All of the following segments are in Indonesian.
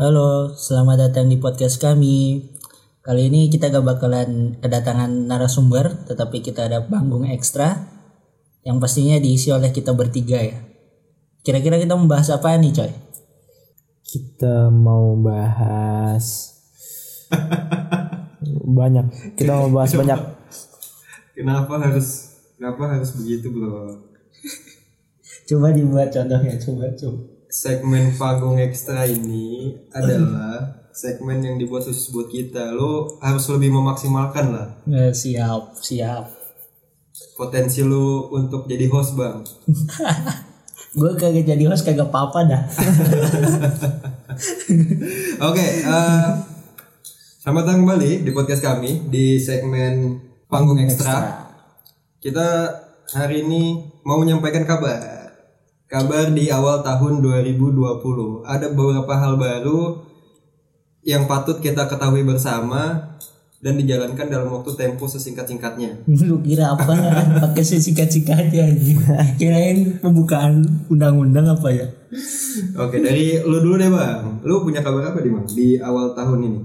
Halo, selamat datang di podcast kami. Kali ini kita gak bakalan kedatangan narasumber, tetapi kita ada panggung ekstra yang pastinya diisi oleh kita bertiga ya. Kira-kira kita membahas apa nih, coy? Kita mau bahas banyak. Kita mau bahas banyak. Kenapa harus kenapa harus begitu bro? Coba dibuat contohnya, coba coba. Segmen panggung ekstra ini adalah segmen yang dibuat khusus buat kita. Lo harus lebih memaksimalkan lah Eh, siap, siap. potensi lo untuk jadi host bang. Gue kagak jadi host kagak apa-apa dah. Oke, eh, selamat datang kembali di podcast kami di segmen panggung ekstra. Kita hari ini mau menyampaikan kabar. Kabar di awal tahun 2020. Ada beberapa hal baru yang patut kita ketahui bersama dan dijalankan dalam waktu tempo sesingkat-singkatnya. Lu kira apa kan? pakai sesikat-sikatnya anjing. Kirain pembukaan undang-undang apa ya? Oke, dari lu dulu deh, Bang. Lu punya kabar apa di Bang di awal tahun ini?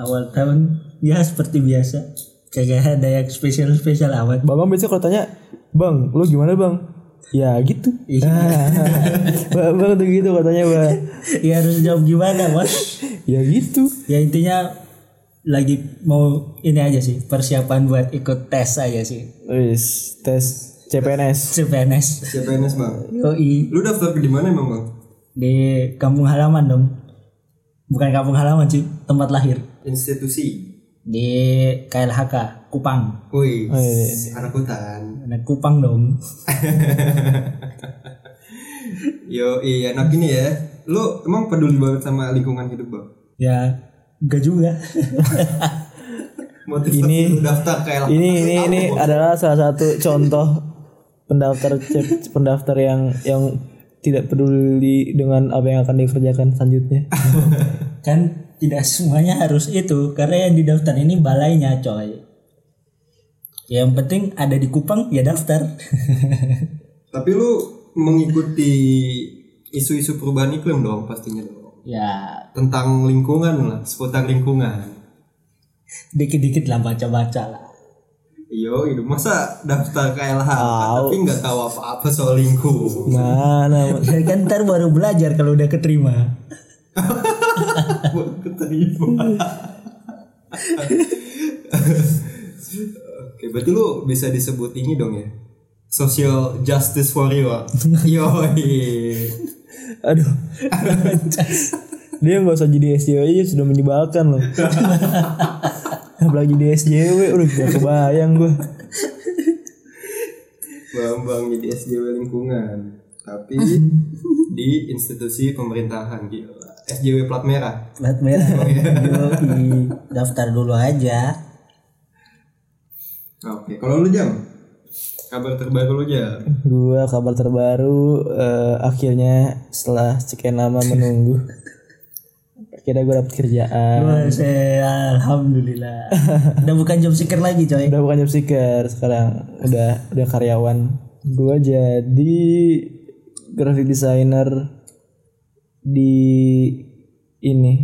awal tahun ya seperti biasa kagak ada yang spesial spesial amat Bang besok kalau tanya, Bang, lu gimana bang? Ya gitu. bang, bang tuh gitu katanya bang. ya harus jawab gimana bos Ya gitu. ya intinya lagi mau ini aja sih persiapan buat ikut tes aja sih Wis tes CPNS. CPNS CPNS, Bang. yoi Lu daftar di mana emang, Bang? di kampung halaman dong bukan kampung halaman sih tempat lahir Institusi. di KLHK Kupang Wih, Oh, iya, anak hutan. ada Kupang dong Yo, iya anak ini ya. Lu emang peduli banget sama lingkungan hidup, Bang? ya enggak juga Motivasi Ini- lu daftar ke LHK Ini ini apa, ini Bang? adalah salah satu contoh pendaftar C- pendaftar yang yang tidak peduli dengan apa yang akan dikerjakan selanjutnya. kan tidak semuanya harus itu karena yang di daftar ini balainya coy yang penting ada di Kupang ya daftar Tapi lu mengikuti isu-isu perubahan iklim dong pastinya dong. ya Tentang lingkungan lah, seputar lingkungan. dikit-dikit lah baca-baca lah Yo, itu masa daftar ke LHK tapi nggak tahu apa-apa soal lingkungan. Mana ya kan ntar baru belajar kalau udah keterima Buat keterima. Oke, berarti lu bisa disebut ini dong ya. Social justice warrior. Yoi. Aduh. Dia nggak usah jadi SJW aja sudah menyebalkan loh. Apalagi di SJW, udah gak kebayang gue. Bambang jadi SJW lingkungan. Tapi di institusi pemerintahan gila. SJW plat merah. plat merah Yoi. daftar dulu aja Oke, kalau lu jam kabar terbaru lu jam. Gue kabar terbaru eh, akhirnya setelah sekian lama menunggu. Akhirnya gue dapet kerjaan. Wah, saya alhamdulillah udah bukan job seeker lagi coy Udah bukan job seeker sekarang, udah udah karyawan. Gue jadi graphic designer di ini.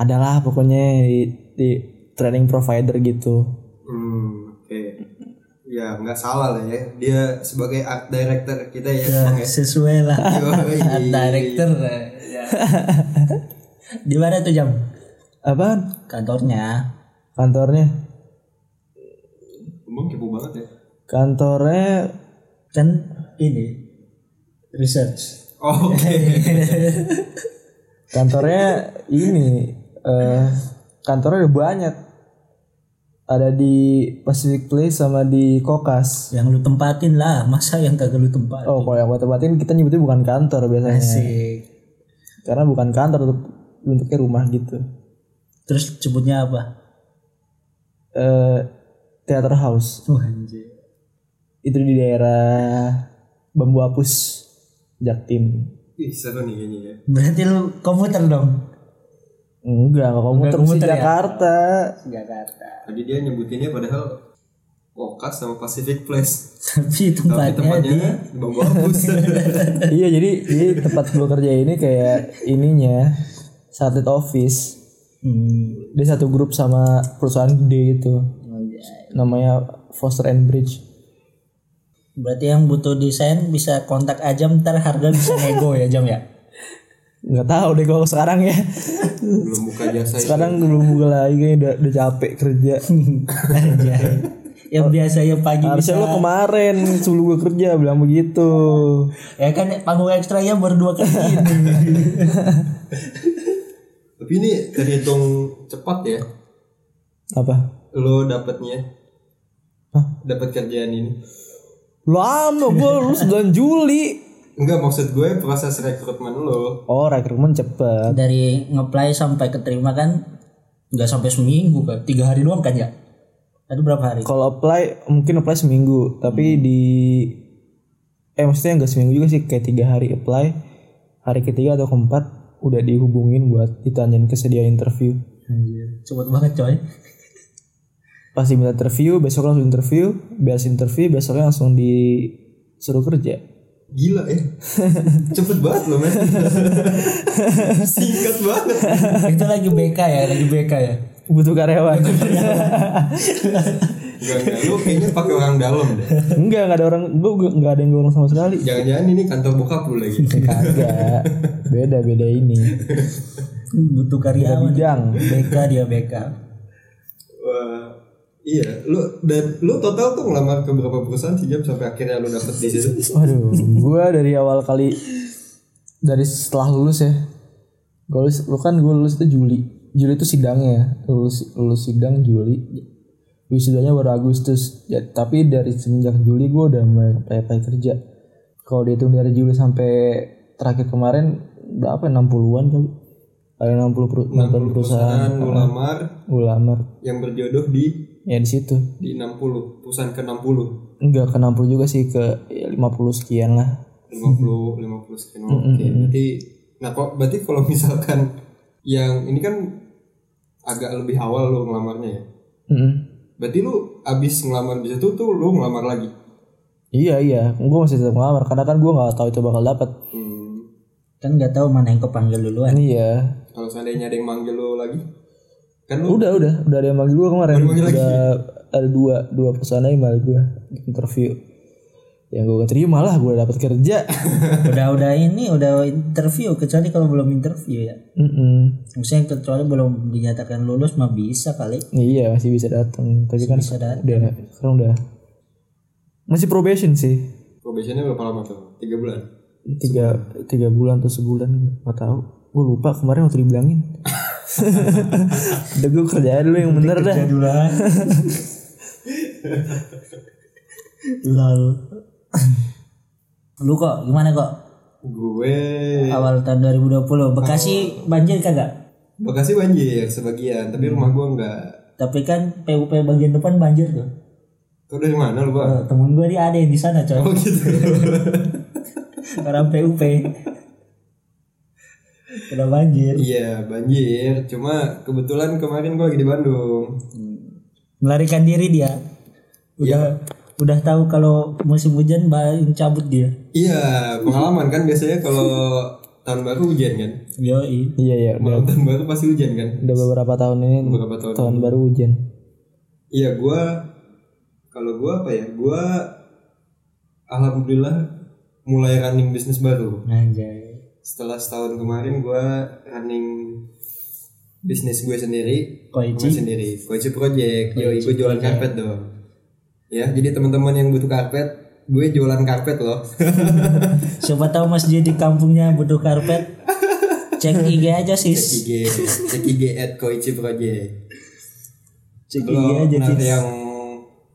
Adalah pokoknya di, di training provider gitu. Hmm, oke. Ya, nggak salah lah ya. Dia sebagai art director kita ya. Bang, ya. sesuai lah Yoi. Art director ya. di mana tuh jam Apaan? kantornya Kantornya? Bang kepo banget ya. Kantornya kan ini research Oke. kantornya ini eh kantornya ada banyak. Ada di Pacific Place sama di Kokas. yang lu tempatin lah masa yang kagak lu tempatin Eh, Oh, kalau yang buat tempatin kita nyebutnya bukan kantor biasanya. Asik. Karena bukan kantor untuk bentuknya rumah gitu. terus sebutnya apa Eh Theater House. tuh Oh, anjir Itu di daerah Bambu Apus, Jaktim. Ih, seru nih kayaknya ya. berarti lu komputer dong Enggak, kalau Enggak muter mesti muter ya? Jakarta. Jakarta Tadi dia nyebutinnya padahal Kokas sama Pacific Place. tapi Tapi tempatnya, di tempatnya di Bambu Apus. iya, jadi jadi tempat gue kerja ini kayak ininya satellite office Hmm. dia satu grup sama perusahaan gede itu Oh, iya. namanya Foster and Bridge Berarti yang butuh desain bisa kontak aja ntar harga bisa nego ya jam ya. nggak tahu deh kalau sekarang ya belum buka jasa itu. sekarang belum buka lagi kayaknya udah, udah capek kerja Anjay. yang biasanya pagi bisa harusnya lo kemarin sebelum gue kerja bilang begitu ya kan panggung ekstranya berdua kali ini. tapi ini terhitung cepat ya apa lo dapetnya Hah? dapat kerjaan ini lama gue anu, lulus bulan Juli enggak maksud gue proses rekrutmen lo oh rekrutmen cepet dari ngeplay sampai keterima kan nggak sampai seminggu kan tiga hari doang kan ya itu berapa hari kalau apply mungkin apply seminggu tapi di eh maksudnya nggak seminggu juga sih kayak tiga hari apply hari ketiga atau keempat udah dihubungin buat ditanyain kesediaan interview cepet banget coy pas diminta interview besok langsung interview beres interview besoknya langsung disuruh kerja gila ya cepet banget lo men singkat banget itu lagi BK ya lagi BK ya butuh karyawan enggak enggak lo kayaknya pakai orang dalam deh enggak nggak ada orang gue nggak ada yang gorong sama sekali jangan-jangan ini kantor bokap lo lagi kagak beda beda ini butuh karyawan bidang. BK dia BK Wah, iya lo dan lo total tuh ngelamar ke berapa perusahaan sih jam sampai akhirnya lo dapet di situ waduh gue dari awal kali dari setelah lulus ya gue lulus lu kan gue lulus itu Juli Juli itu sidangnya ya lulus lulus sidang Juli wisudanya baru Agustus ya, tapi dari semenjak Juli gue udah mulai apply apply kerja kalau dihitung dari Juli sampai terakhir kemarin berapa ya, 60-an kali ada 60, peru- 60 perusahaan perusahaan lo lamar gue lamar yang berjodoh di ya di situ di 60 perusahaan ke 60 enggak ke 60 juga sih ke ya, 50 sekian lah 50 50 sekian oke berarti nah kok berarti kalau misalkan yang ini kan agak lebih awal lo ngelamarnya ya Mm-mm. berarti lo abis ngelamar di situ tuh lo ngelamar lagi Iya iya, gue masih tetap ngelamar karena kan gue nggak tahu itu bakal dapat. hmm, kan nggak tahu mana yang kepanggil duluan Iya. kalau seandainya ada yang manggil lo lagi kan lo Udah udah udah ada yang manggil gue kemarin. Baru manggil lagi. Udah ada dua dua perusahaan yang manggil gue interview. Yang gue terima lah, gue dapat kerja. udah udah ini udah interview kecuali kalau belum interview ya Mm-mm. maksudnya kecuali belum dinyatakan lulus mah bisa kali Iya masih bisa datang, tapi kan bisa datang. udah sekarang udah masih probation sih probationnya berapa lama tuh tiga bulan tiga tiga bulan atau sebulan nggak tahu gue lupa kemarin waktu dibilangin udah gue kerja dulu yang bener dah duluan lol lu kok gimana kok gue awal tahun 2020 Bekasi banjir kagak Bekasi banjir sebagian, tapi rumah gua enggak. tapi kan PUP bagian depan banjir tuh Kau dari mana lu, Bang? temen gue dia ada yang di sana coy Oh gitu. orang PUP udah banjir Iya, banjir. Cuma kebetulan kemarin gua lagi di Bandung. melarikan diri dia udah udah tahu kalau musim hujan baru cabut dia Iya, pengalaman kan biasanya kalau tahun baru hujan kan. yoi iya iya udah Malam tahun baru pasti hujan kan. udah beberapa tahun ini Beberapa tahun. tahun baru hujan Iya, gua kalau gua apa ya? Gua alhamdulillah mulai running bisnis baru. anjay Setelah setahun kemarin gua running bisnis gue sendiri koichi Gue sendiri, Koichi Project. Yo, gue jualan karpet dong. Ya, jadi teman-teman yang butuh karpet, gue jualan karpet loh. Siapa tahu masjid di kampungnya butuh karpet. Cek IG aja Cek sis. IG, cek IG at Koichi Project. Cek IG Kalau aja nah, sis. yang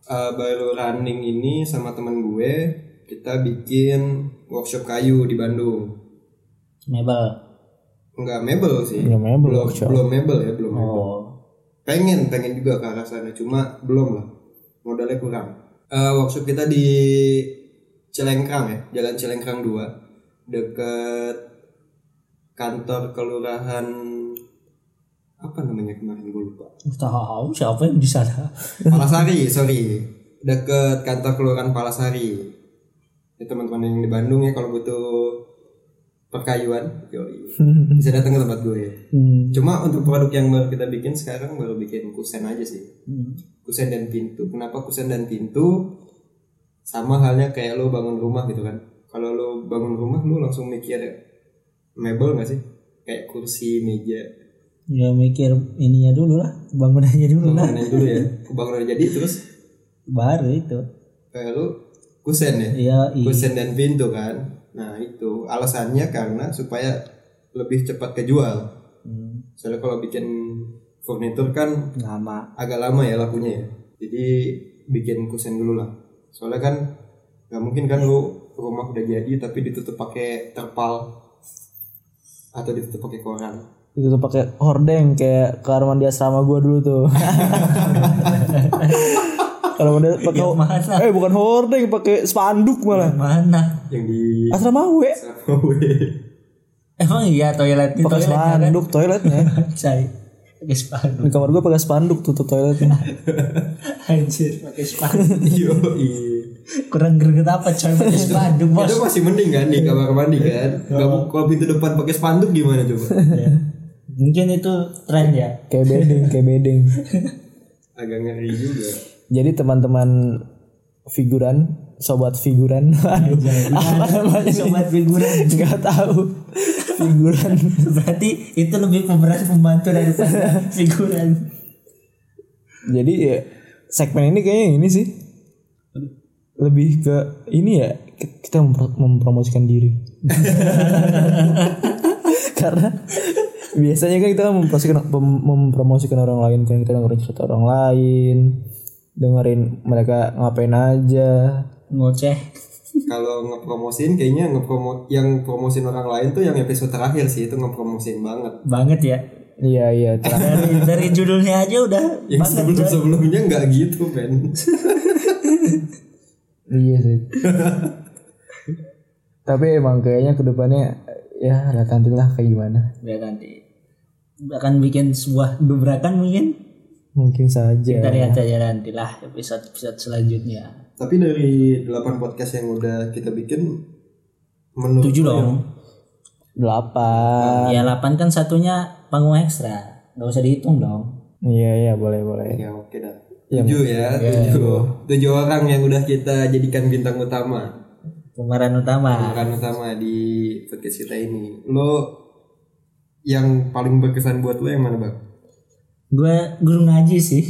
uh, baru running ini sama teman gue, kita bikin workshop kayu di Bandung. Mebel. Enggak mebel sih. Nggak mebel belum, workshop. belum mebel ya, belum mebel. Oh. pengen pengen juga ke arah sana cuma belum lah modalnya kurang Eh, workshop kita di Cilengkrang ya Jalan Cilengkrang 2 deket kantor kelurahan apa namanya kemarin gue lupa Tahu oh, siapa yang di sana? Palasari sorry deket kantor kelurahan Palasari ya teman-teman yang di Bandung ya kalau butuh perkayuan Yoi. bisa datang ke tempat gue cuma untuk produk yang baru kita bikin sekarang baru bikin kusen aja sih Hmm, kusen dan pintu kenapa kusen dan pintu sama halnya kayak lo bangun rumah gitu kan kalau lo bangun rumah lo langsung mikir mebel gak sih kayak kursi meja ya mikir ininya dulu lah bangunannya dulu lah bangunan dulu ya bangunan jadi terus baru itu kayak lo kusen ya ya i- kusen dan pintu kan nah itu alasannya karena supaya lebih cepat kejual Hmm, soalnya kalau bikin furnitur kan lama agak lama ya lakunya ya jadi bikin kusen dulu lah soalnya kan nggak mungkin kan lu rumah udah jadi tapi ditutup pakai terpal atau ditutup pakai koran itu tuh pakai hordeng kayak kamar mandi asrama gua dulu tuh kamar mandi Iya, pakai mana eh bukan hordeng pakai spanduk malah mana yang di Iya. asrama we emang iya toilet di pakai toilet spanduk toiletnya cai pakai spanduk di kamar gua pakai spanduk tutup toiletnya anjir pakai spanduk Yo, iya. kurang greget apa coy pakai spanduk bos Itu masih mending kan di kamar mandi kan. Gak mau kalau pintu depan pakai spanduk gimana coba? Ya. mungkin itu tren ya kayak bedeng kayak bedeng Agak ngeri juga. jadi teman-teman figuran sobat figuran Iya, aduh apa namanya nih? sobat figuran nggak tahu figuran berarti itu lebih pemeran pembantu daripada figuran Jadi ya segmen ini kayaknya ini sih lebih ke ini ya ki- kita mempro- mempromosikan diri. Karena biasanya kan kita mempromosikan mem- mempromosikan orang lain kan kita dengerin cerita orang lain, dengerin mereka ngapain aja. ngoceh Kalau ngepromosin kayaknya ngepromo yang promosin orang lain tuh yang episode terakhir sih itu ngepromosin banget. banget ya Iya iya ter- dari, dari judulnya aja udah Yang sebelum sebelumnya nggak gitu men. iya sih. Tapi emang kayaknya kedepannya ya lihat nantilah kayak gimana. ya nanti akan bikin sebuah dobrakan mungkin Mungkin saja. kita lihat aja nantilah episode episode selanjutnya Tapi dari 8 podcast yang udah kita bikin menurut tujuh dong Delapan. ya 8 kan satunya panggung ekstra nggak usah dihitung dong Iya iya boleh boleh. Ya oke dah. 7 ya, 7. 7 orang yang udah kita jadikan bintang utama. pemeran utama Bukan utama di podcast kita ini. Lo yang paling berkesan buat lo yang mana bang? gue guru ngaji sih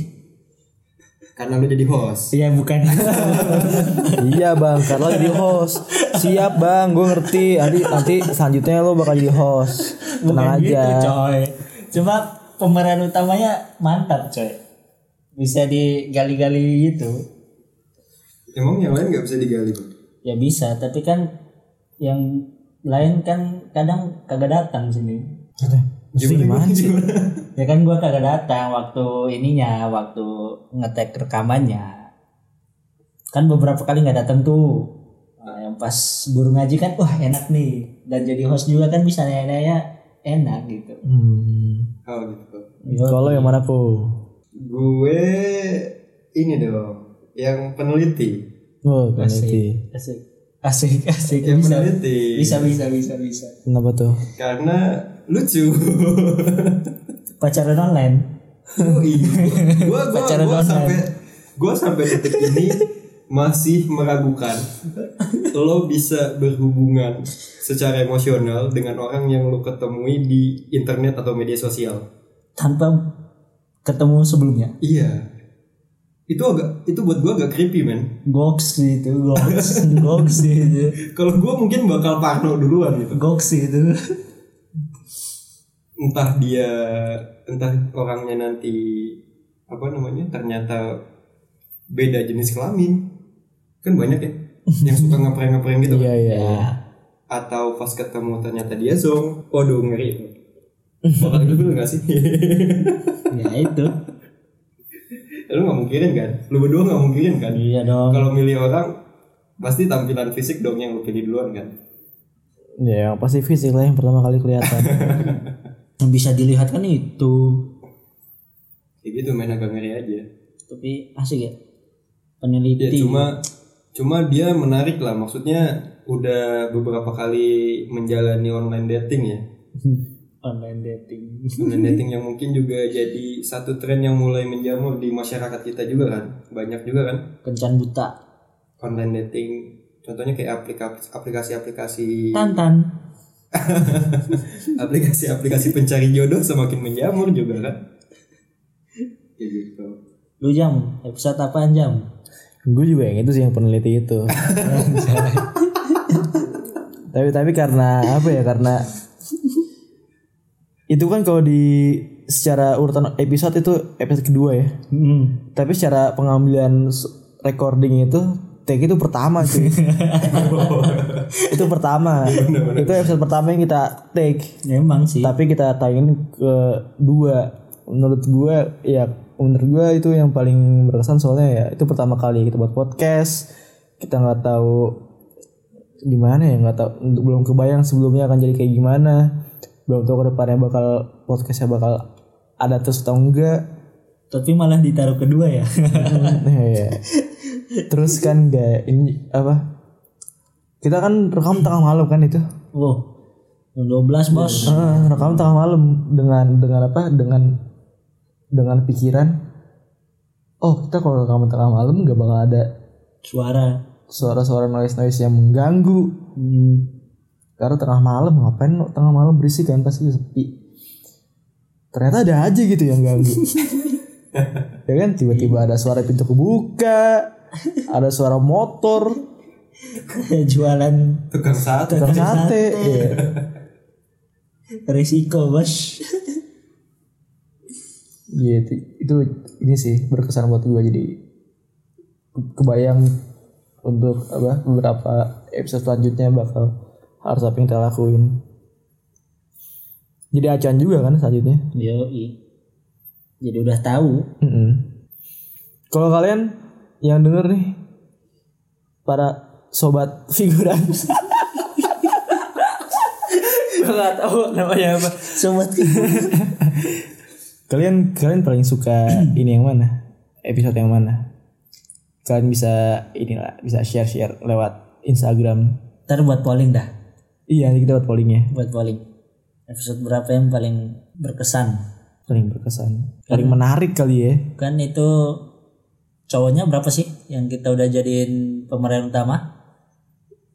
Karena lo jadi host. ya bukan iya bang, Karla jadi host. Siap bang, gue ngerti. Nanti nanti selanjutnya lo bakal jadi host. bukan Tenang gitu aja. coy cuma pemeran utamanya mantap coy bisa digali-gali gitu Emang yang lain nggak bisa digali Bang? ya bisa tapi kan yang lain kan kadang kagak datang sini Gimana? Gimana? ya kan gua kagak datang waktu ininya waktu ngetek rekamannya kan beberapa kali nggak datang tuh Nah, yang pas guru ngaji kan wah enak nih dan jadi host juga kan bisa nanya-nanya enak gitu Hmm. Oh gitu. Yo, Kalau yang mana po? Gue ini dong yang peneliti. Oh, peneliti. asik asik asik Ya, Yang bisa peneliti. bisa bisa bisa bisa Kenapa tuh? Karena lucu. pacaran online Yoi. gua gua Pacaran gua online. sampai gua sampai detik ini masih meragukan lo bisa berhubungan secara emosional dengan orang yang lo ketemui di internet atau media sosial. tanpa ketemu sebelumnya Iya. Itu agak itu buat gua agak creepy, men. goks itu goks goks itu Kalau gua mungkin bakal parno duluan gitu. goks itu Entah dia entah orangnya nanti apa namanya? ternyata beda jenis kelamin. Kan banyak ya yang suka ngeprank-ngeprank gitu. kan. Iya iya. atau pas ketemu ternyata dia zong waduh ngeri bakal gitu gak sih ya itu lu gak mungkirin kan lu berdua gak mungkirin kan iya dong kalau milih orang pasti tampilan fisik dong yang lu pilih duluan kan Ya yang pasti fisik lah yang pertama kali kelihatan. yang bisa dilihat kan itu kayak gitu main agak ngeri aja tapi asik ya ya peneliti cuma cuma dia menarik lah maksudnya udah beberapa kali menjalani online dating ya. online dating Online dating yang mungkin juga jadi satu tren yang mulai menjamur di masyarakat kita juga kan. Banyak juga kan kencan buta online dating. Contohnya kayak aplikasi- aplikasi-aplikasi tantan aplikasi-aplikasi pencari jodoh semakin menjamur juga kan. Ya gitu. lu jam episode apaan jam Gue juga yang itu sih yang peneliti itu. tapi tapi karena apa ya? Karena itu kan kalau di secara urutan episode itu episode kedua ya. hmm. Tapi secara pengambilan s- recording itu take itu pertama sih. itu pertama. itu episode pertama yang kita take. emang sih Tapi kita tayangin ke dua. Menurut gue ya menurut gue itu yang paling berkesan soalnya ya itu pertama kali kita buat podcast. Kita nggak tahu gimana ya nggak tahu belum kebayang sebelumnya akan jadi kayak gimana. Belum tahu ke depannya bakal podcastnya bakal ada terus atau enggak. tapi malah ditaruh kedua ya Iya. Terus kan gak ini apa? Kita kan rekam tengah malam kan itu. wow jam 12 bos Eh, rekam tengah malam dengan dengan apa? Dengan dengan pikiran oh kita kalau rekam tengah malam gak bakal ada suara suara-suara noise noise yang mengganggu hmm. karena tengah malam ngapain lo tengah malam berisik kan pasti sepi ternyata ada aja gitu yang ganggu ya kan tiba-tiba ada suara pintu kebuka ada suara motor jualan Tukang sate. Tukang sate. sate. Iya. risiko bos Iya, itu, itu ini sih berkesan buat gue jadi ke- kebayang untuk apa beberapa episode selanjutnya bakal harus apa yang kita lakuin. Jadi acuan juga kan selanjutnya. Yoi. Jadi udah tahu Mm-mm. Kalau kalian yang denger nih para sobat figuran. Gue gak tahu namanya apa. sobat Kalian kalian paling suka ini yang mana? Episode yang mana? Kalian bisa inilah bisa share-share lewat Instagram. Ntar buat polling dah, Iya, nanti kita buat pollingnya. buat polling. Episode berapa yang paling berkesan? Paling berkesan, paling menarik kali ya. Kan itu cowoknya berapa sih yang kita udah jadiin pemeran utama?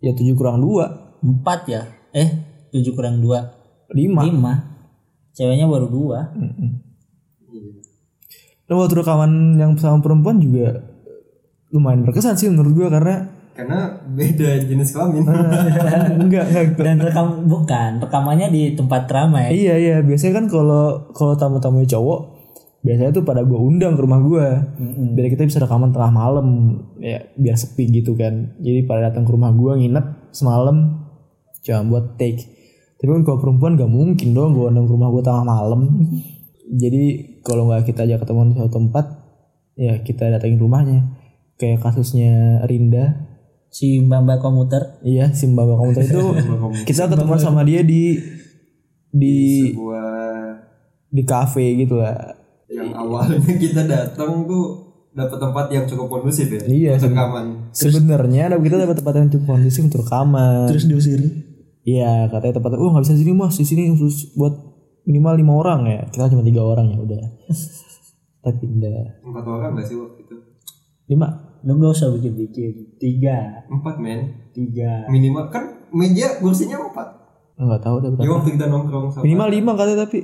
Ya 7 kurang 2, Empat ya? Eh, tujuh kurang dua, 5. lima. Ceweknya baru dua. Lo Nah, waktu rekaman yang sama perempuan juga lumayan berkesan sih menurut gua karena eh, Karena beda jenis kelamin. enggak enggak Dan rekam bukan rekamannya di tempat ramai. Iya iya biasanya kan kalau kalau tamu-tamu cowok biasanya tuh pada gua undang ke rumah gua biar kita bisa rekaman tengah malam ya biar sepi gitu kan jadi pada datang ke rumah gua nginep semalam cuma buat take tapi kan kalau perempuan gak mungkin dong gua undang ke rumah gua tengah malam jadi kalau nggak kita ajak ketemuan di suatu tempat ya kita datangin rumahnya kayak kasusnya Rinda Si Mbak Mbak komuter iya si mbak kamu itu kita ketemu sama dia di di Sebuah di kafe gitu lah. yang awalnya kita datang tuh dapat tempat yang cukup kondusif ya. Iya, Untuk rekaman. Sebenarnya ada- kita dapat tempat yang cukup kondusif untuk Eh, rekaman. terus diusir. Iya, katanya tempat oh nggak bisa di sini mas, di sini khusus buat minimal lima orang ya. Kita cuma tiga orang ya udah. Tapi pindah Empat orang gak sih waktu itu? lima. Lu gak usah bikin-bikin. Tiga, Empat men. tiga. Minimal kan meja kursinya empat. Enggak tahu deh Ya berapa. waktu kita nongkrong sama Minimal lima katanya tapi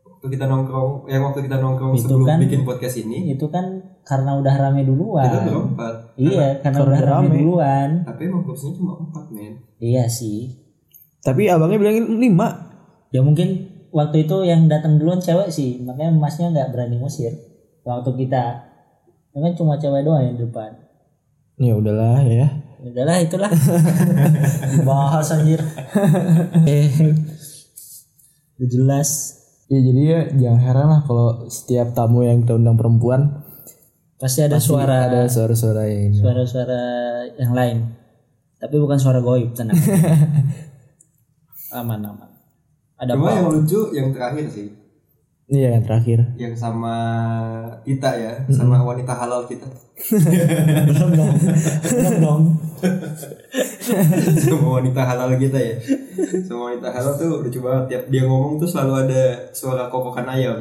waktu kita nongkrong yang waktu kita nongkrong Itu sebelum kan- bikin podcast ini Itu kan karena udah rame duluan. kita berempat. Iya, karena Karena udah udah rame rame. duluan. Tapi emang kursinya cuma empat men. Iya sih. tapi abangnya bilangin lima. Ya mungkin waktu itu yang datang duluan cewek sih, makanya masnya nggak berani ngusir. Waktu kita, ya kan cuma cewek doang yang di depan. Ya udahlah ya. Ya Udahlah itulah. Bahas anjir. Eh, udah jelas Ya jadi ya jangan heran lah kalau setiap tamu yang kita undang perempuan pasti ada suara ada suara-suara yang ini. suara-suara yang lain. Tapi bukan suara goib, tenang. aman aman. Ada Cuma apa? yang lucu yang terakhir sih. Iya yang terakhir. yang sama kita ya, sama wanita halal kita. belum dong belum dong sama wanita halal kita ya. Sama wanita halal tuh lucu banget. Tiap dia ngomong tuh selalu ada suara kokokan ayam.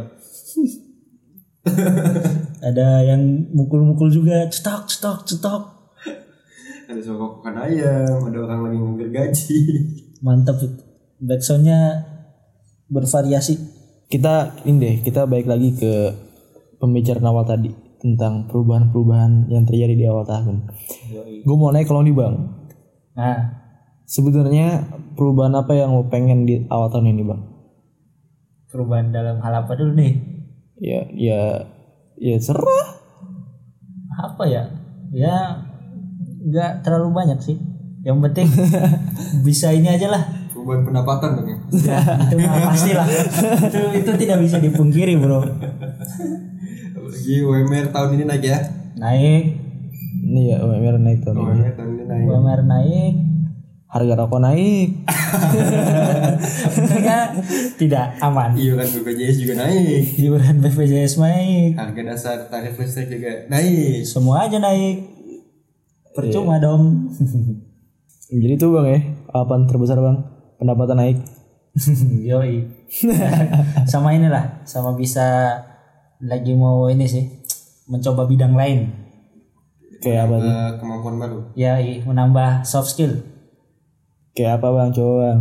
ada yang mukul-mukul juga cetok cetok cetok Ada suara kokokan ayam, ada orang lagi ngambil gaji. mantap itu backsoundnya bervariasi Kita ini deh, kita balik lagi ke pembicaraan awal tadi tentang perubahan-perubahan yang terjadi di awal tahun. Gue mau naik kalau nih bang. nah Sebenarnya perubahan apa yang lo pengen di awal tahun ini bang? perubahan dalam hal apa dulu nih Ya, ya, ya serah. apa ya ya nggak terlalu banyak sih yang penting bisa ini aja lah Perubahan pendapatan dong ya. itu mah pasti lah itu, itu tidak bisa dipungkiri bro Apalagi UMR tahun ini naik ya. naik Ini ya UMR naik tahun ini. UMR tahun ini naik. UMR naik Harga rokok naik. Sebenarnya tidak aman Iuran BPJS Iya kan, juga naik. iuran BPJS naik Harga dasar tarif listrik juga naik. semua aja naik percuma dong Jadi tuh bang ya, harapan terbesar bang, pendapatan naik. yoi sama inilah sama bisa lagi mau ini sih mencoba bidang lain Kayak apa? tuh? Eh, kemampuan baru. yoi menambah soft skill Kayak apa bang, coba bang.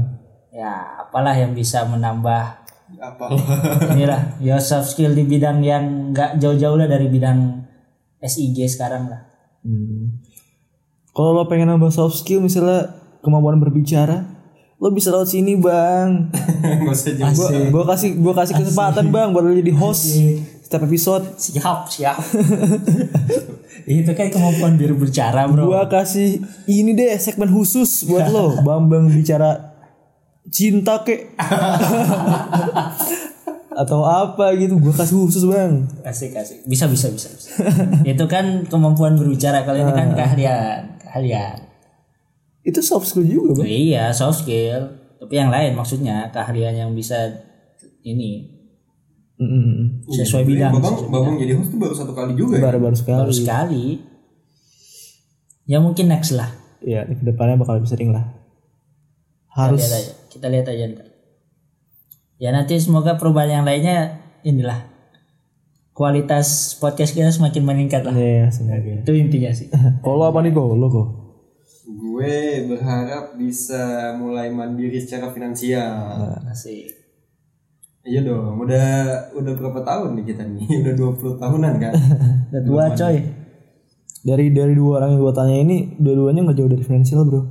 ya apalah yang bisa menambah Apalah. inilah ya soft skill di bidang yang nggak jauh-jauh lah dari bidang SIG sekarang lah Hmm. Kalau lo pengen nambah soft skill misalnya kemampuan berbicara, lo bisa lewat sini bang. Gak usah jauh. Gua, gua kasih gua kasih kesempatan bang buat lo jadi host setiap episode. siap siap itu kan kemampuan biar berbicara bro Gua kasih ini deh segmen khusus buat lo, Bambang bicara cinta kek atau apa gitu. Gua kasih khusus bang. asik asik bisa bisa bisa, bisa. itu kan kemampuan berbicara kalau ini kan keahlian keahlian Itu soft skill juga bang. iya soft skill tapi yang lain maksudnya keahlian yang bisa ini Mm-mm. sesuai Jadi bidang Babang, Babang jadi host tuh baru satu kali juga ya. Baru-baru baru sekali. sekali ya mungkin next lah Ya kedepannya bakal lebih sering lah. kita Harus lihat aja kita lihat aja ntar. ya nanti semoga perubahan yang lainnya inilah kualitas podcast kita semakin meningkat lah ya semoga. itu intinya sih Kalau apa nih kok? Lo kok? Gue berharap bisa mulai mandiri Nah. secara finansial. masih Iya dong, udah udah berapa tahun nih kita nih? Udah 20 tahunan kan? udah tua coy Dari dari dua orang yang gue tanya ini, dua-duanya nggak jauh dari finansial bro.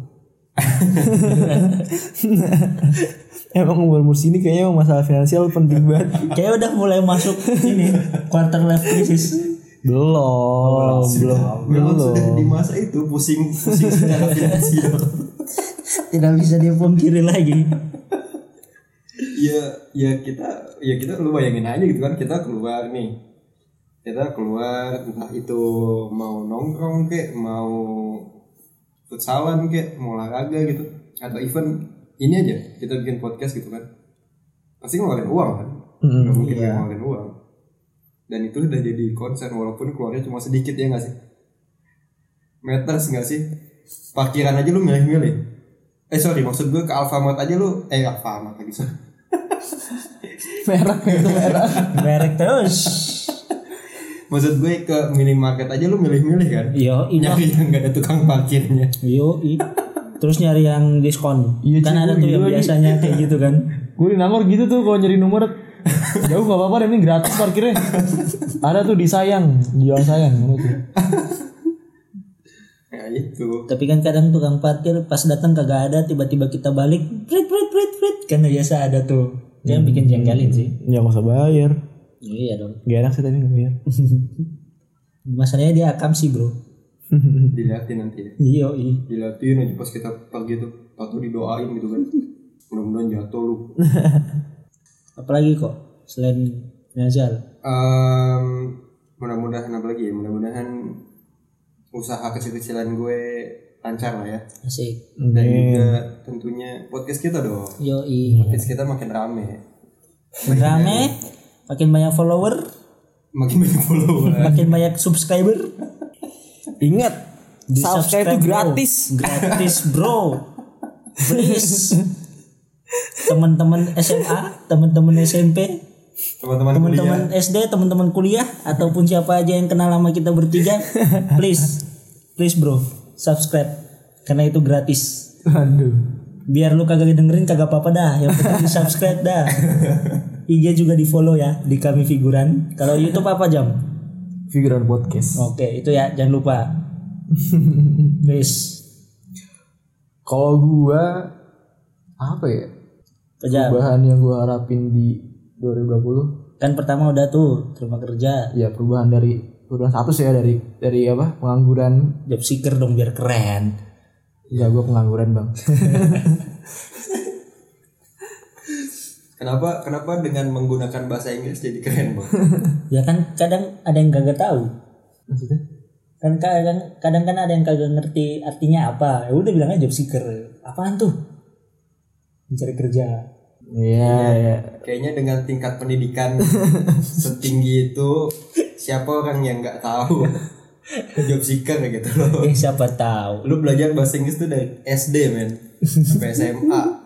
emang umur umur sini kayaknya emang masalah finansial penting banget. kayak udah mulai masuk ini quarter life crisis Belum, belum, Memang sudah di masa itu pusing pusing secara finansial. tidak bisa dipungkiri lagi ya ya kita ya kita lu bayangin aja gitu kan kita keluar nih. Kita keluar entah itu mau nongkrong kek, mau futsalan kek, mau olahraga gitu atau event ini aja kita bikin podcast gitu kan. Pasti ngeluarin uang kan? Mm, Nggak mungkin nggak ngeluarin uang. Dan itu udah jadi konser walaupun keluarnya cuma sedikit ya nggak sih? Matters nggak sih? Parkiran aja lu milih-milih. Eh sorry maksud gue ke Alfamart aja lu eh Alfamart lagi sorry. Merah itu merah. merek terus Maksud gue ke minimarket aja lu milih-milih kan? yo Nyari yang nggak ada tukang parkirnya. yo terus nyari yang diskon Iya, kan cuy, ada tuh yang gila, biasanya kayak gitu kan gue di Nangor gitu tuh kalau nyari nomor jauh gak apa-apa deh, ini gratis parkirnya. Ada tuh di sayang, jual sayang. mana tuh. Ya itu. tapi kan kadang tukang parkir pas datang kagak ada tiba-tiba kita balik prit prit prit prit kan biasa ada tuh dia bikin jengkelin sih Ya nggak usah bayar, iya dong gak enak sih tapi nggak bayar. masalahnya dia akam sih bro Diliatin nanti ya. yo Diliatin aja pas kita pergi tuh. Tato didoain gitu kan. Mudah-mudahan jatuh lu. apalagi kok selain Nazar Em, mudah-mudahan apa lagi ya mudah-mudahan usaha kecil-kecilan gue lancar lah ya asik dan juga tentunya podcast kita dong yo Hmm. podcast kita makin rame rame makin banyak follower, Makin banyak follower. makin banyak subscriber. Ingat, Di subscribe itu bro. gratis. Gratis, bro. Please. Teman-teman SMA, teman-teman SMP, Teman-teman kuliah. teman-teman SD, teman-teman kuliah ataupun siapa aja yang kenal sama kita bertiga, please. Please, bro. Subscribe karena itu gratis. Aduh. Biar lu kagak dengerin kagak apa-apa dah, yang penting di-subscribe dah. IG juga di-follow ya di kami figuran. Kalau YouTube apa jam? Figuran podcast. Oke, itu ya jangan lupa. Please. Kalau gua apa ya? Pejam. Perubahan yang gua harapin di 2020 Kan pertama udah tuh terima kerja, ya perubahan dari perubahan status ya dari dari apa pengangguran job seeker dong biar keren. ya gua pengangguran bang Kenapa kenapa dengan menggunakan bahasa Inggris jadi keren, Bang? Ya kan kadang ada yang kagak tahu. maksudnya Kan kadang kadang kan ada yang kagak ngerti artinya apa. Ya udah bilang aja job seeker. Apaan tuh? Mencari kerja. Iya, ya. Kayaknya dengan tingkat pendidikan setinggi itu siapa orang yang nggak tahu job seeker gitu loh. Eh siapa tahu. Lu belajar bahasa Inggris tuh dari SD, men. Sampai SMA.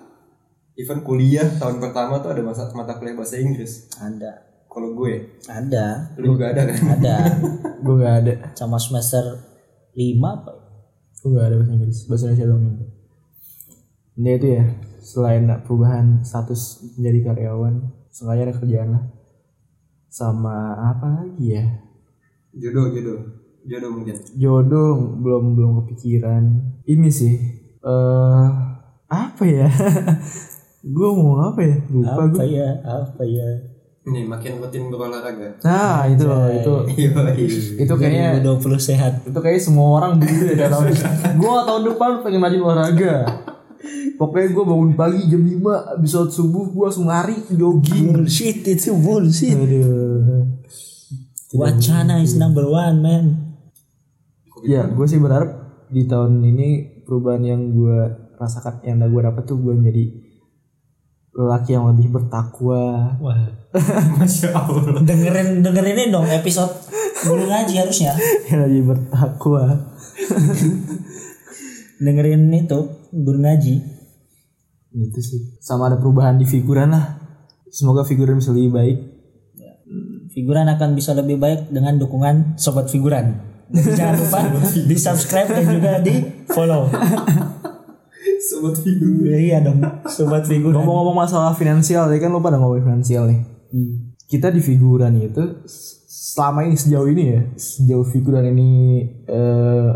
Even kuliah tahun pertama tuh ada masa mata kuliah bahasa Inggris. Ada. Kalau gue, Ada. lu juga ada kan? Ada. Gue gak ada. Sama semester 5 apa? ya? Gue gak ada bahasa Inggris. Bahasa Indonesia doang yang ada. Ini itu ya. Selain perubahan status menjadi karyawan, sengaja ada kerjaan lah. Sama apa lagi ya? Jodoh, jodoh. Jodoh mungkin. Jodoh belum belum kepikiran. Ini sih. Eh apa ya? gue mau apa ya? Lupa Apa gue. ya? Apa ya? Nih, makin rutin berolahraga. Nah itu loh itu Yoi. itu kayaknya 2020 sehat. itu kayak semua orang begitu ya tahun gue tahun depan pengen rajin olahraga pokoknya gue bangun pagi jam 5 abis sholat subuh gue langsung lari jogging Bullshit itu bullshit. aduh Wacana is number one man. ya gue sih berharap di tahun ini perubahan yang gue rasakan yang gue dapat tuh gue jadi lelaki yang lebih bertakwa Wah. Masya Allah. Dengerin dengerin dong episode guru ngaji harusnya. yang lebih bertakwa Dengerin itu guru ngaji. itu Gitu sih sama ada perubahan di figuran lah semoga figuran bisa lebih baik Figuran akan bisa lebih baik dengan dukungan sobat figuran. Jadi jangan lupa di subscribe dan juga di follow. Sobat hidup. iya dong, sobat figuran. ngomong-ngomong masalah finansial ya kan lo pada ngomongin finansial nih Hmm. kita di figuran itu s- selama ini sejauh ini ya sejauh figuran ini eh,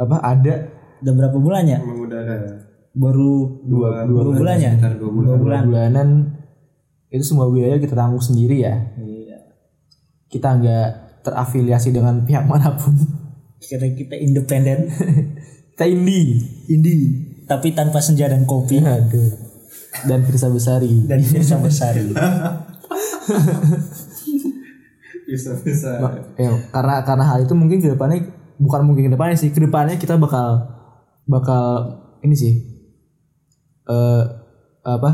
apa ada Udah berapa ya? bulannya? Mengudara. Baru Dua, dua bulannya. Sekitar dua bulan. Dua bulan. bulanan itu semua biaya kita tanggung sendiri ya Iya. kita nggak terafiliasi dengan pihak manapun Karena kita independen, kita indie indie tapi tanpa senja dan kopi aduh dan Firsa Besari dan Firsa Besari. Bisa, bisa. ya, karena karena hal itu mungkin kedepannya bukan mungkin kedepannya sih kedepannya kita bakal bakal ini sih eh apa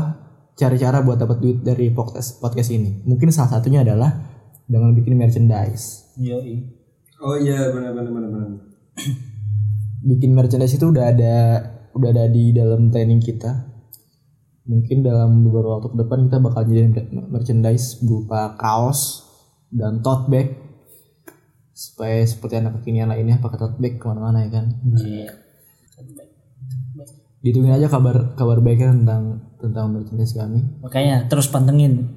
cara-cara buat dapat duit dari podcast podcast ini mungkin salah satunya adalah dengan bikin merchandise Yoi. Oh iya, benar benar benar benar. bikin merchandise itu udah ada udah ada di dalam training kita mungkin dalam beberapa waktu ke depan kita bakal jadi merchandise berupa kaos dan tote bag supaya seperti anak kekinian lainnya pakai tote bag kemana-mana ya kan Iya. ditungguin aja kabar kabar baiknya tentang tentang merchandise kami Makanya terus pantengin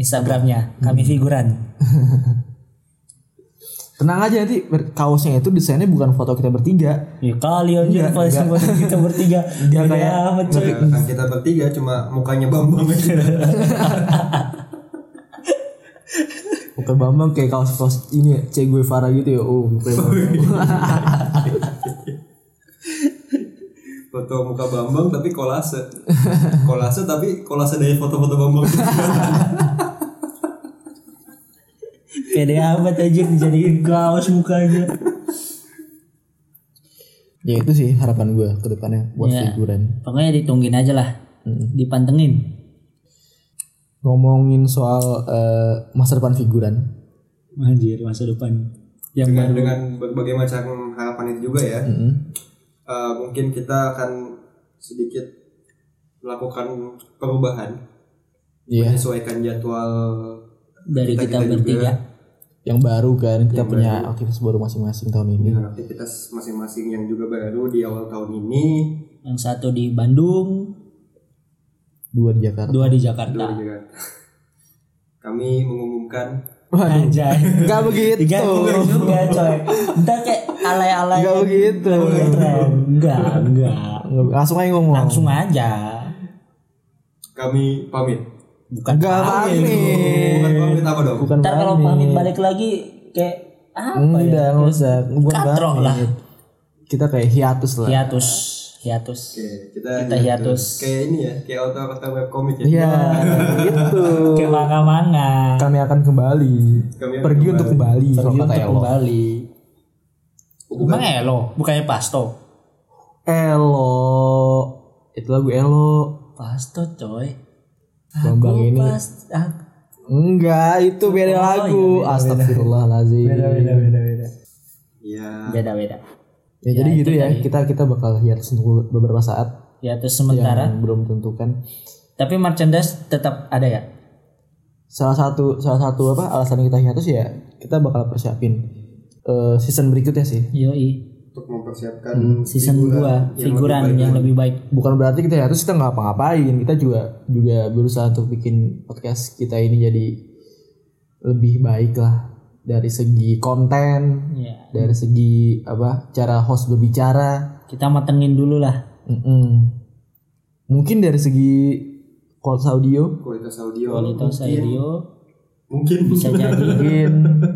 Instagramnya kami figuran. tenang aja nanti mer- kaosnya itu desainnya bukan foto kita bertiga Ya kali aja pas pas kita bertiga. Enggak, Beda kayak- amat, cuy. Ya, kan kita bertiga cuma mukanya Bambang aja. bukan bambang kayak kaos kaos ini ya, cewek gue Farah gitu ya oh bukan Bambang. Foto muka Bambang tapi kolase. Kolase tapi kolase dari foto-foto Bambang. Beda amat aja dijadiin kaos mukanya. ya itu sih harapan gue ke depannya buat Iya. figuran Pokoknya ditungguin aja lah. Dipantengin. ngomongin soal eh, masa depan figuran. Anjir masa depan yang dengan, baru dengan berbagai macam harapan itu juga ya Mm-hmm. Mm-mm. Eh, mungkin kita akan sedikit melakukan perubahan Iya, menyesuaikan jadwal dari kita, Kita-kita bertiga yang baru kan kita Yang punya baru. aktivitas baru masing-masing tahun ini. dengan aktivitas masing-masing yang juga baru di awal tahun ini yang satu di Bandung Dua di Jakarta. dua di Dua Jakarta juga. gitu kan. kami mengumumkan Waduh, anjay nggak begitu. tiga bukan juga coy ntar kayak alay-alay Nggak begitu. enggak enggak Nggak- Langsung aja ngomong. langsung aja kami pamit bukan Nggak pamit. bukan pamit apa dong Bukan ntar kalau pamit balik lagi kayak apa Enggak, ya nggak usah. Bukan Katrong pamit. lah. Kita kayak hiatus lah. hiatus hiatus Oke, kita, Kita hiatus. kayak ini ya kayak author-author webcomic ya Iya, gitu. kayak manga-manga Kami akan kembali. Kami akan Pergi kembali. untuk kembali. kalau Pergi kata untuk ya, Elo. kembali. Bukan. Emang Elo, bukannya Pasto. Elo. Itu lagu Elo. Pasto coy. Bambang Aku Ah, ini. Pas, aku- Enggak, itu Oh, iya, beda lagu. Astagfirullahalazim. Iya. Beda-beda. Ya, jadi gitu ya. Kita kita bakal hiatus untuk beberapa saat Ya terus sementara. yang belum tentukan. Tapi merchandise tetap ada ya. Salah satu salah satu apa alasan kita hiatus ya kita bakal persiapin eh, season berikutnya sih. Yoi. untuk mempersiapkan Hmm, Season 2 figuran figuran baik yang lagi. lebih baik. Bukan berarti kita hiatus kita nggak apa-ngapain. Kita juga juga berusaha untuk bikin podcast kita ini jadi lebih baik lah dari segi konten, Ya. dari segi apa cara host berbicara. Kita matengin dulu lah. Mm-mm. Mungkin dari segi kualitas audio kualitas audio Kualitas mungkin. audio mungkin bisa jadi, mungkin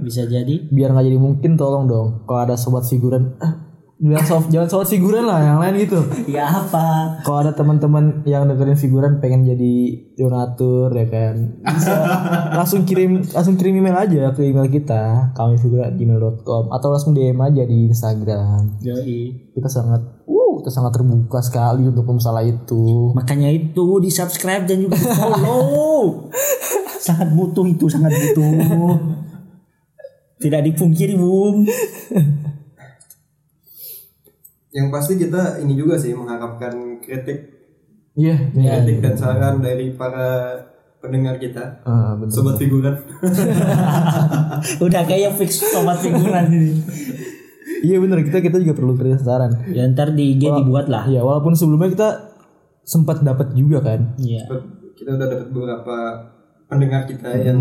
bisa jadi. biar nggak jadi mungkin tolong dong kalau ada sobat figuran ah, bilang sob- jangan sobat figuran lah yang lain gitu. Ya apa? Kalau ada teman-teman yang dengerin figuran pengen jadi donatur ya kan bisa langsung kirim langsung kirim email aja ke email kita kami gmail.com atau langsung DM aja di Instagram. Yoi. Kita sangat uh kita sangat terbuka sekali untuk masalah itu. Makanya itu di subscribe dan juga di follow. sangat butuh itu, sangat butuh. Tidak dipungkiri, Bung. yang pasti kita ini juga sih mengharapkan kritik Iya, Ya, iya. kritik dan saran dari para pendengar kita Ah, bener. sobat figuran Udah kayak fix sobat figuran ini. Iya bener kita kita juga perlu kritik dan saran. Ya ntar di IG dibuat lah. Iya walaupun sebelumnya kita sempat dapat juga kan. Iya. kita udah dapat beberapa pendengar kita Hmm. yang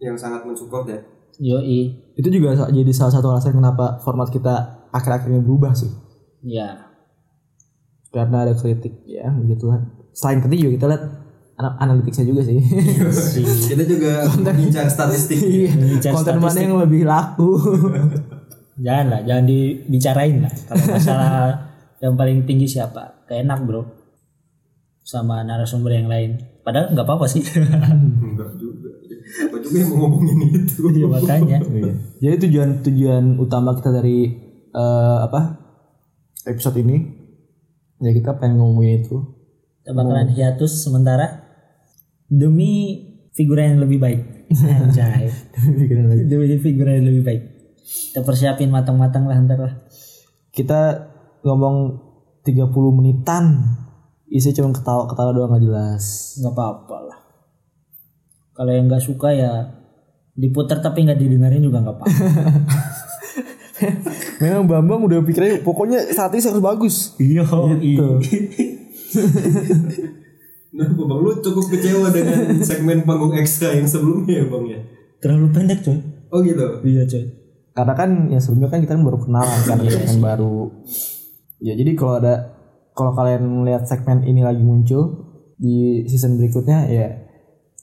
yang sangat mensupport ya Yoi. Itu juga sa- jadi salah satu alasan kenapa format kita akhir-akhir ini berubah sih. Ya. Karena ada kritik ya begitulah. Selain kritik juga kita lihat ana- analitiknya juga sih. kita juga mengincar statistik ya. Bicara Iya. Konten mana statistik. yang lebih laku? Jangan lah, jangan dibicarain lah. Kalau masalah yang paling tinggi siapa? Kayak enak bro. Sama narasumber yang lain. Padahal nggak apa-apa sih. enggak juga apa juga yang mau ngomongin itu Iya, makanya. jadi tujuan tujuan utama kita dari eh, apa episode ini ya kita pengen ngomongin itu. Kita bakalan hiatus sementara demi figura yang lebih baik. Anjay. Pikiran lagi. demi figura yang lebih baik. Kita persiapin matang-matang lah ntar lah. kita ngomong 30 menitan isi cuma ketawa-ketawa doang gak jelas nggak apa-apa lah kalau yang nggak suka ya diputar tapi nggak didengarin juga nggak apa-apa memang Bambang udah pikirnya pokoknya saat ini harus bagus iya nah bang lu cukup kecewa dengan segmen panggung ekstra yang sebelumnya ya bang ya terlalu pendek coy oh gitu iya coy karena kan yang sebelumnya kan kita kan baru kenalan kan ya, yang baru ya jadi kalau ada kalau kalian melihat segmen ini lagi muncul di season berikutnya ya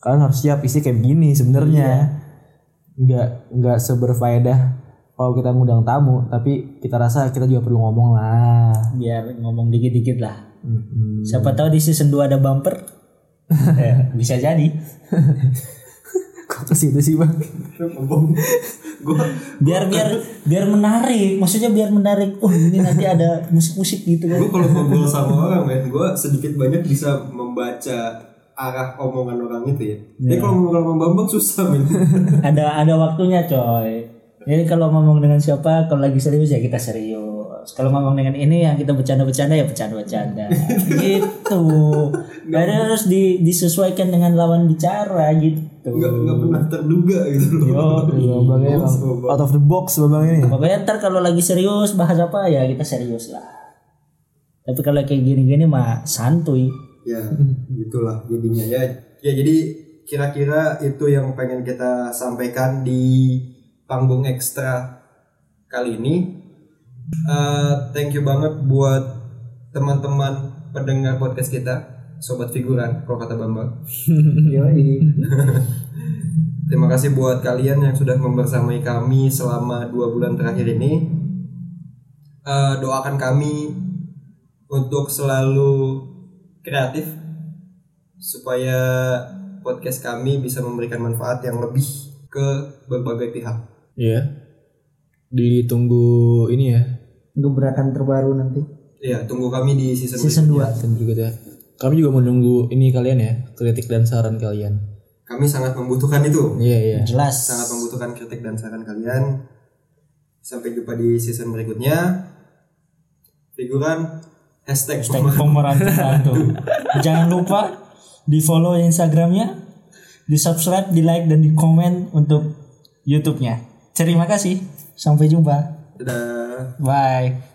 kalian harus siap isi kayak begini sebenarnya nggak nggak seberfaedah kalau kita ngundang tamu tapi kita rasa kita juga perlu ngomong lah biar ngomong dikit-dikit lah Mm-mm. siapa tahu di season 2 ada bumper Eh, bisa jadi Kok ke situ sih bang? Abang, gua biar biar biar menarik maksudnya biar menarik oh ini nanti ada musik-musik gitu kan gua kalau ngobrol sama orang men, gua sedikit banyak bisa membaca arah omongan orang itu ya. Jadi kalau ngomong sama Bambang susah men. ada ada waktunya coy jadi kalau ngomong dengan siapa kalau lagi serius ya kita serius kalau ngomong dengan ini yang kita bercanda-bercanda ya bercanda-bercanda gitu dan harus di- disesuaikan dengan lawan bicara gitu Enggak enggak pernah terduga gitu loh. Iya, Bang emang out of the box Bang ini. pokoknya ya, ntar kalau lagi serius bahas apa ya kita serius lah tapi kalau kayak gini-gini mah santuy ya gitulah jadinya ya ya jadi kira-kira itu yang pengen kita sampaikan di panggung ekstra kali ini Eh, thank you banget buat teman-teman pendengar podcast kita sobat figuran kalau kata bambang terima kasih buat kalian yang sudah membersamai kami selama dua bulan terakhir ini Eh, doakan kami untuk selalu kreatif supaya podcast kami bisa memberikan manfaat yang lebih ke berbagai pihak. Iya. Ditunggu ini ya. gebrakan terbaru nanti Iya, tunggu kami di season, season 2 Dan juga ya. Kami juga menunggu ini kalian ya, kritik dan saran kalian. berikutnya. Kami sangat membutuhkan itu. Iya, iya. jelas Sangat membutuhkan kritik dan saran kalian. Sampai jumpa di season berikutnya. Figuran hashtag, Hashtag pemeran terbantu. Jangan lupa di follow Instagramnya, di subscribe, di like dan di komen untuk YouTube-nya. Terima kasih. Sampai jumpa. Dadah. Bye.